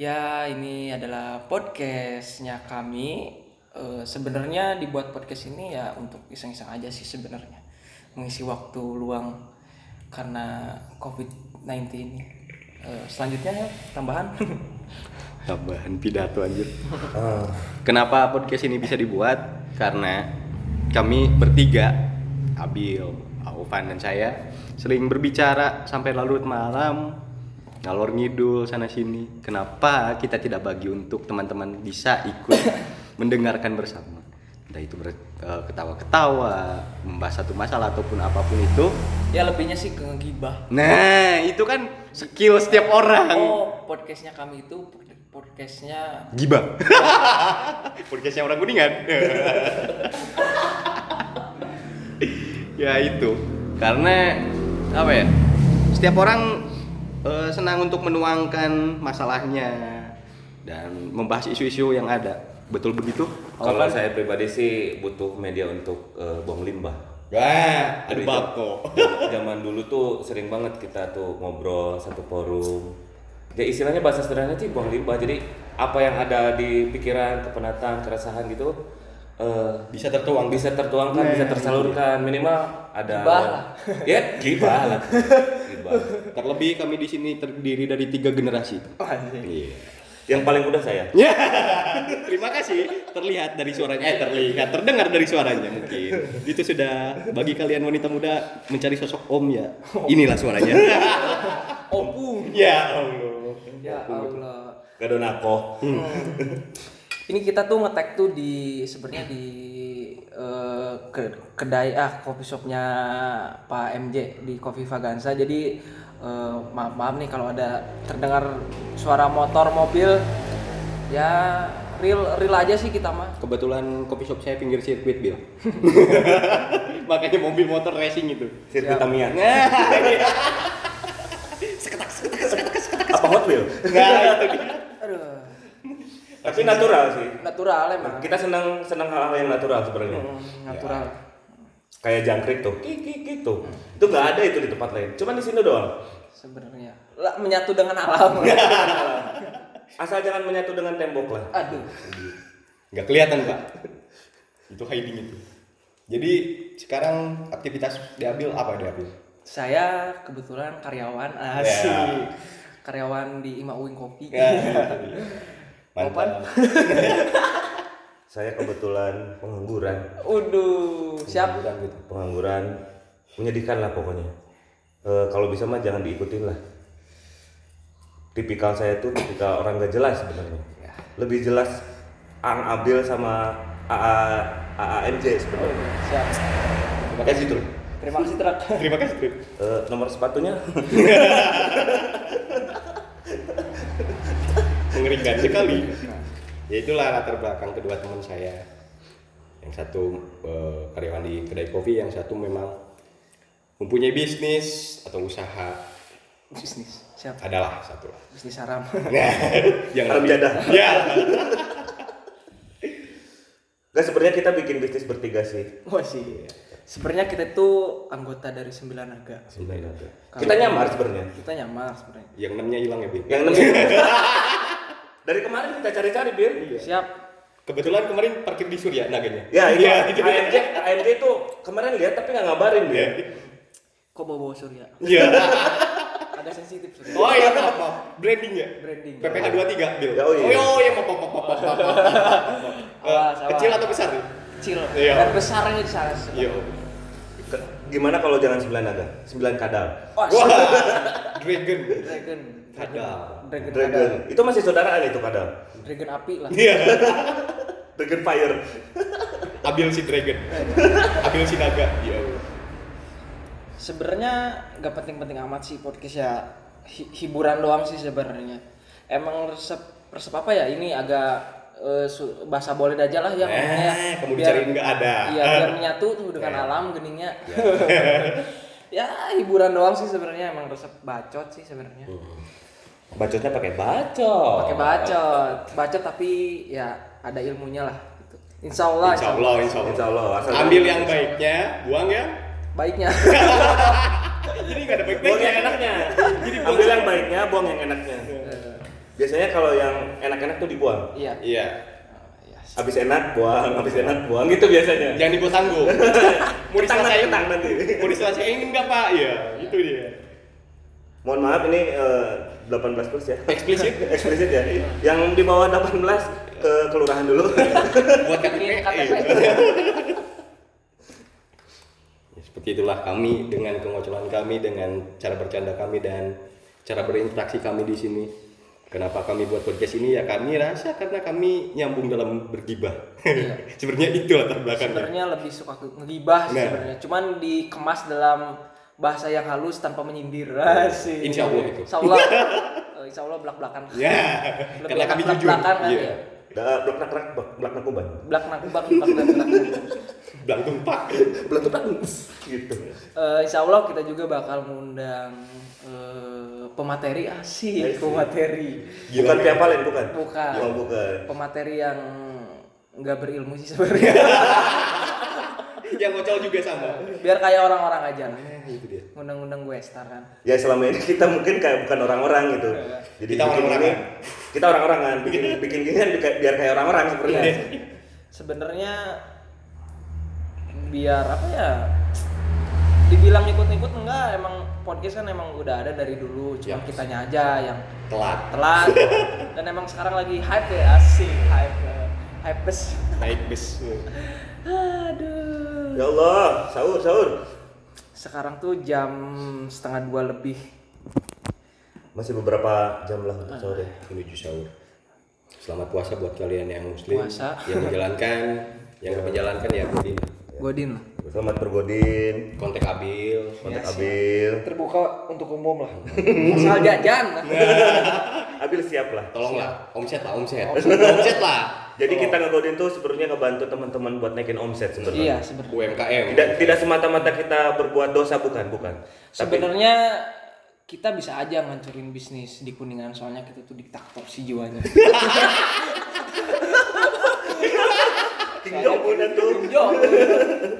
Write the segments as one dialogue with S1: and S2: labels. S1: ya ini adalah podcastnya kami. Eh, sebenarnya dibuat podcast ini ya untuk iseng-iseng aja sih sebenarnya mengisi waktu luang karena COVID-19 ini. Eh, selanjutnya ya, tambahan.
S2: Tambahan pidato anjir. Kenapa podcast ini bisa dibuat? Karena kami bertiga, Abil, Aufan dan saya sering berbicara sampai larut malam, ngalor ngidul sana sini. Kenapa kita tidak bagi untuk teman-teman bisa ikut mendengarkan bersama? Entah itu ber- eh, ketawa-ketawa, membahas satu masalah ataupun apapun itu.
S1: ya lebihnya sih ke ngegibah.
S2: Nah, itu kan skill setiap orang.
S1: Oh, podcastnya kami itu podcastnya
S2: Giba. Podcastnya orang kuningan. ya itu. Karena apa ya? Setiap orang eh, senang untuk menuangkan masalahnya dan membahas isu-isu yang ada. Betul begitu? kan.
S3: Kalau saya pribadi sih butuh media untuk eh, buang limbah.
S2: Wah,
S3: Dari jam- Zaman dulu tuh sering banget kita tuh ngobrol satu forum. Ya istilahnya bahasa sederhana sih buang limbah. Jadi apa yang ada di pikiran, kepenatan, keresahan gitu eh,
S2: Bisa tertuang. Nah, iya.
S3: bisa tertuangkan, bisa tersalurkan. Minimal ada
S1: Gibah lah.
S3: Ya, gibah lah. Gibah.
S2: Terlebih kami di sini terdiri dari tiga generasi. Iya.
S3: Yang paling mudah saya.
S2: Ya, terima kasih. Terlihat dari suaranya, eh terlihat, terdengar dari suaranya mungkin. Itu sudah bagi kalian wanita muda mencari sosok om ya. Inilah suaranya.
S1: Opung.
S2: ya Allah.
S1: Oh, Ya Allah.
S3: Gadonako.
S2: Hmm.
S1: Ini kita tuh ngetek tuh di sebenarnya di eh, ke- kedai ah coffee shopnya Pak MJ di Coffee Vaganza. Jadi eh, maaf maaf nih kalau ada terdengar suara motor mobil ya real real aja sih kita mah.
S2: Kebetulan kopi shop saya pinggir sirkuit, Bil. Makanya mobil motor racing itu.
S3: Sirkuit Tamiya. Apa Hot Wheels?
S2: Nah, itu dia.
S1: Aduh,
S3: Tapi natural sih.
S1: natural emang.
S3: Kita senang senang hal-hal yang natural sebenarnya.
S1: Hmm, Natural.
S3: Kayak jangkrik tuh. Kik kik kik tuh. Itu nggak ada itu di tempat lain. Cuman di sini doang.
S1: Sebenarnya Lah, menyatu dengan alam.
S3: Asal jangan menyatu dengan tembok lah.
S1: Aduh.
S2: nggak kelihatan pak itu hiding itu jadi sekarang aktivitas diambil apa diambil
S1: Saya kebetulan karyawan asik. Karyawan di Ima Uing Kopi.
S2: mantap
S3: Saya kebetulan pengangguran.
S1: Uduh, siap.
S3: Pengangguran gitu. Pengangguran menyedihkan lah pokoknya. Eh, kalau bisa mah jangan diikutin lah. Tipikal saya tuh tipikal orang gak jelas sebenarnya. Lebih jelas Ang Abil sama AA AAMJ sebenarnya.
S1: Siap.
S3: Oh,
S2: terima kasih Truk.
S1: Terima kasih Truk.
S2: terima kasih Truk.
S3: Eh, nomor sepatunya
S2: mengerikan sekali ya itulah latar belakang kedua teman saya yang satu eh, karyawan di kedai kopi yang satu memang mempunyai bisnis atau usaha
S1: Bisnis. Siap.
S2: adalah satu lah
S1: Bisnis haram.
S2: nah,
S3: Haram
S2: lebih.
S3: jadah.
S2: ya
S3: Gak sebenarnya kita bikin bisnis bertiga sih.
S1: Wah Oh, sih. Sebenarnya kita itu anggota dari sembilan naga.
S3: Sebenarnya.
S1: Kalau-
S3: Kita nyamar sebenarnya.
S1: Kita nyamar sebenarnya.
S2: yang enamnya hilang ya Bin
S3: Yang enam. Dari kemarin kita cari-cari, Bir.
S1: Siap.
S2: kebetulan kemarin parkir di Surya naganya
S3: Ya, itu
S2: Iya, itu.
S3: AMJ, AMJ tuh kemarin lihat tapi nggak ngabarin
S2: Iya.
S3: dia.
S1: Kok bawa surya?
S2: Iya.
S1: Ada sensitif surya.
S2: Oh iya apa? Branding ya?
S1: Branding.
S2: PPH 23 Bil.
S3: Ya, oh iya.
S2: Oh iya pop pop pop pop. pop, pop.
S1: Awas,
S2: Eh, Kecil
S1: awas.
S2: atau besar? Bil?
S1: Kecil.
S2: Iya.
S1: Dan besarnya di sana.
S2: Iya.
S3: Gimana kalau jangan sembilan naga? Sembilan kadal.
S1: Wah.
S2: Wah. Dragon.
S1: Dragon.
S2: Kadal.
S1: Dragon. Dragon.
S3: Oh, Dragon. Itu masih saudaraan itu kadal.
S1: Dragon api lah.
S2: Iya.
S3: Dragon Fire.
S2: Abil si Dragon. Abil si naga. Iya.
S1: sebenarnya nggak penting-penting amat sih podcast ya Hi- hiburan doang sih sebenarnya emang resep resep apa ya ini agak eh, su- bahasa boleh aja lah ya ngomongnya
S2: Eh, kamu
S1: Biar-
S2: dicariin nggak Ya. ada.
S3: ya,
S1: iya biar menyatu tuh dengan alam geningnya ya hiburan doang sih sebenarnya emang resep bacot sih sebenarnya
S3: Bacotnya pakai bacot.
S2: Oh.
S1: pakai bacot bacot tapi ya ada ilmunya lah gitu. insya Allah,
S2: Insya Allah, insya Allah.
S3: Insya Allah. Asal
S2: Ambil yang baiknya, buang yang
S1: baiknya
S2: jadi nggak ada
S3: Buang
S2: baik-baiknya.
S3: ya. yang enaknya.
S2: Jadi
S3: ambil yang Iya. baiknya buang yang enaknya biasanya kalau yang enak-enak tuh dibuang
S1: Iya.
S2: Iya.
S3: habis enak buang habis enak buang gitu biasanya
S2: Jangan dibuat tanggung. Mau
S3: Ketang,
S2: diselesain
S3: ketang nanti.
S2: Mau diselesain enggak pak? Iya. Itu dia.
S3: mohon maaf ini eh, 18 plus ya
S2: Eksplisit.
S3: eksplisit ya yang di bawah 18 ke kelurahan dulu
S2: Buat KTP.
S1: Ini KTP.
S2: iya. Ya, seperti itulah kami dengan kemunculan kami dengan cara bercanda kami dan cara berinteraksi kami di sini. Kenapa kami buat podcast ini ya kami rasa karena kami nyambung dalam bergibah. Sebenarnya itu latar belakangnya.
S1: Iya. Sebenarnya lebih suka ke- ngegibah sih
S2: Iya. Nah.
S1: sebenarnya. Cuman dikemas dalam bahasa yang halus tanpa menyindir Ah, sih.
S2: Insya Allah itu.
S1: Insya Allah. Eh, Insya Allah belak belakan.
S2: Ya, karena kami jujur.
S1: Belak
S2: Iya.
S1: ya.
S3: Da- belak nak rak belak nak kuban
S1: Belak nak belak belak belak belak.
S2: Belang tumpak.
S3: belak tuh gitu
S1: Eh, insya Allah kita juga bakal mengundang eh, pemateri asik, pemateri
S3: bukan
S2: ya.
S3: pihak palen bukan
S1: Bukan.
S3: Oh, bukan
S1: pemateri yang nggak berilmu sih sebenarnya
S2: Yang ngocol juga sama.
S1: biar kayak orang-orang aja lah
S2: Nah, itu dia.
S1: ngundang-undang gue star kan
S3: ya selama ini kita mungkin kayak bukan orang-orang gitu jadi
S2: Iya. Kita
S3: bikin
S2: orang-orangan. Iya.
S3: ini- kita orang-orangan bikin bikin gini kan biar- biar kayak orang-orang sebenarnya
S1: sebenarnya biar apa ya dibilang ikut-ikut enggak emang podcast kan emang udah ada dari dulu cuma
S2: Yap.
S1: kitanya aja yang
S2: Telat.
S1: telat dan emang sekarang lagi hype ya asik hype eh, hype bes
S2: Naik bis.
S1: aduh
S3: ya Allah sahur sahur
S1: Sekarang tuh jam setengah dua lebih.
S3: masih beberapa jam lah untuk sahur ya
S2: Menuju sahur. Selamat puasa buat kalian yang muslim.
S1: Puasa.
S2: Yang menjalankan. Yang gak menjalankan ya Godin.
S1: Godin lah.
S3: selamat bergodin
S2: Kontak Abil.
S3: kontak Abil
S1: Terbuka untuk umum lah. Nah. Asal jajan.
S3: Abil siap lah
S2: Tolonglah. Omset lah, omset. Omset lah.
S3: jadi
S1: Oh.
S3: kita ngegodin tuh sebenarnya ngebantu teman-teman buat naikin omset sebenarnya
S1: iya sebenarnya.
S2: UMKM.
S3: tidak tidak semata-mata kita berbuat dosa bukan bukan tapi
S1: Sebenarnya kita bisa aja ngancurin bisnis di kuningan soalnya kita tuh diktator si jiwanya.
S3: tinggal pun tuh
S1: Yo,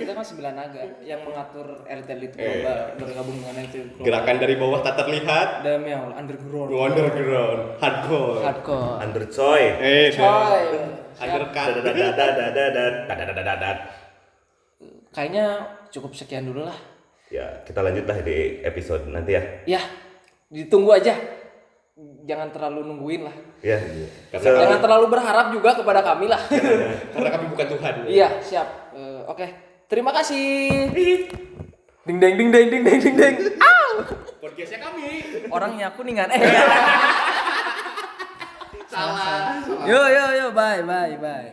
S1: kita kan sembilan naga yang mengatur elit elit global bergabung dengan elit global.
S2: Gerakan dari bawah tak terlihat.
S1: Demi ya Allah underground.
S2: Underground. Hardcore.
S1: Hardcore.
S3: undercoy
S2: Eh,
S1: Coy.
S2: undercut.
S3: dadadadadadadadadadadadadadadadadadadadadadadadadadadadadadadadadadadadadadadadadadadadadadadadadadadadadadadadadadadadadadadadadad.
S1: Kayaknya cukup sekian dulu lah.
S3: ya kita lanjut lah di episode nanti ya
S1: Ya, ditunggu aja. Jangan terlalu nungguin lah.
S3: ya
S1: Iya.
S2: Karena-
S3: So,
S1: Jangan terlalu berharap juga kepada kami lah.
S2: Karena kami bukan Tuhan.
S1: iya, siap. Eh, Oke, terima kasih. Ding deng ding deng ding deng ding deng. Au!
S2: Podcastnya kami.
S1: Orangnya kuningan. Eh. Salah. Yo yo yo, bye bye bye.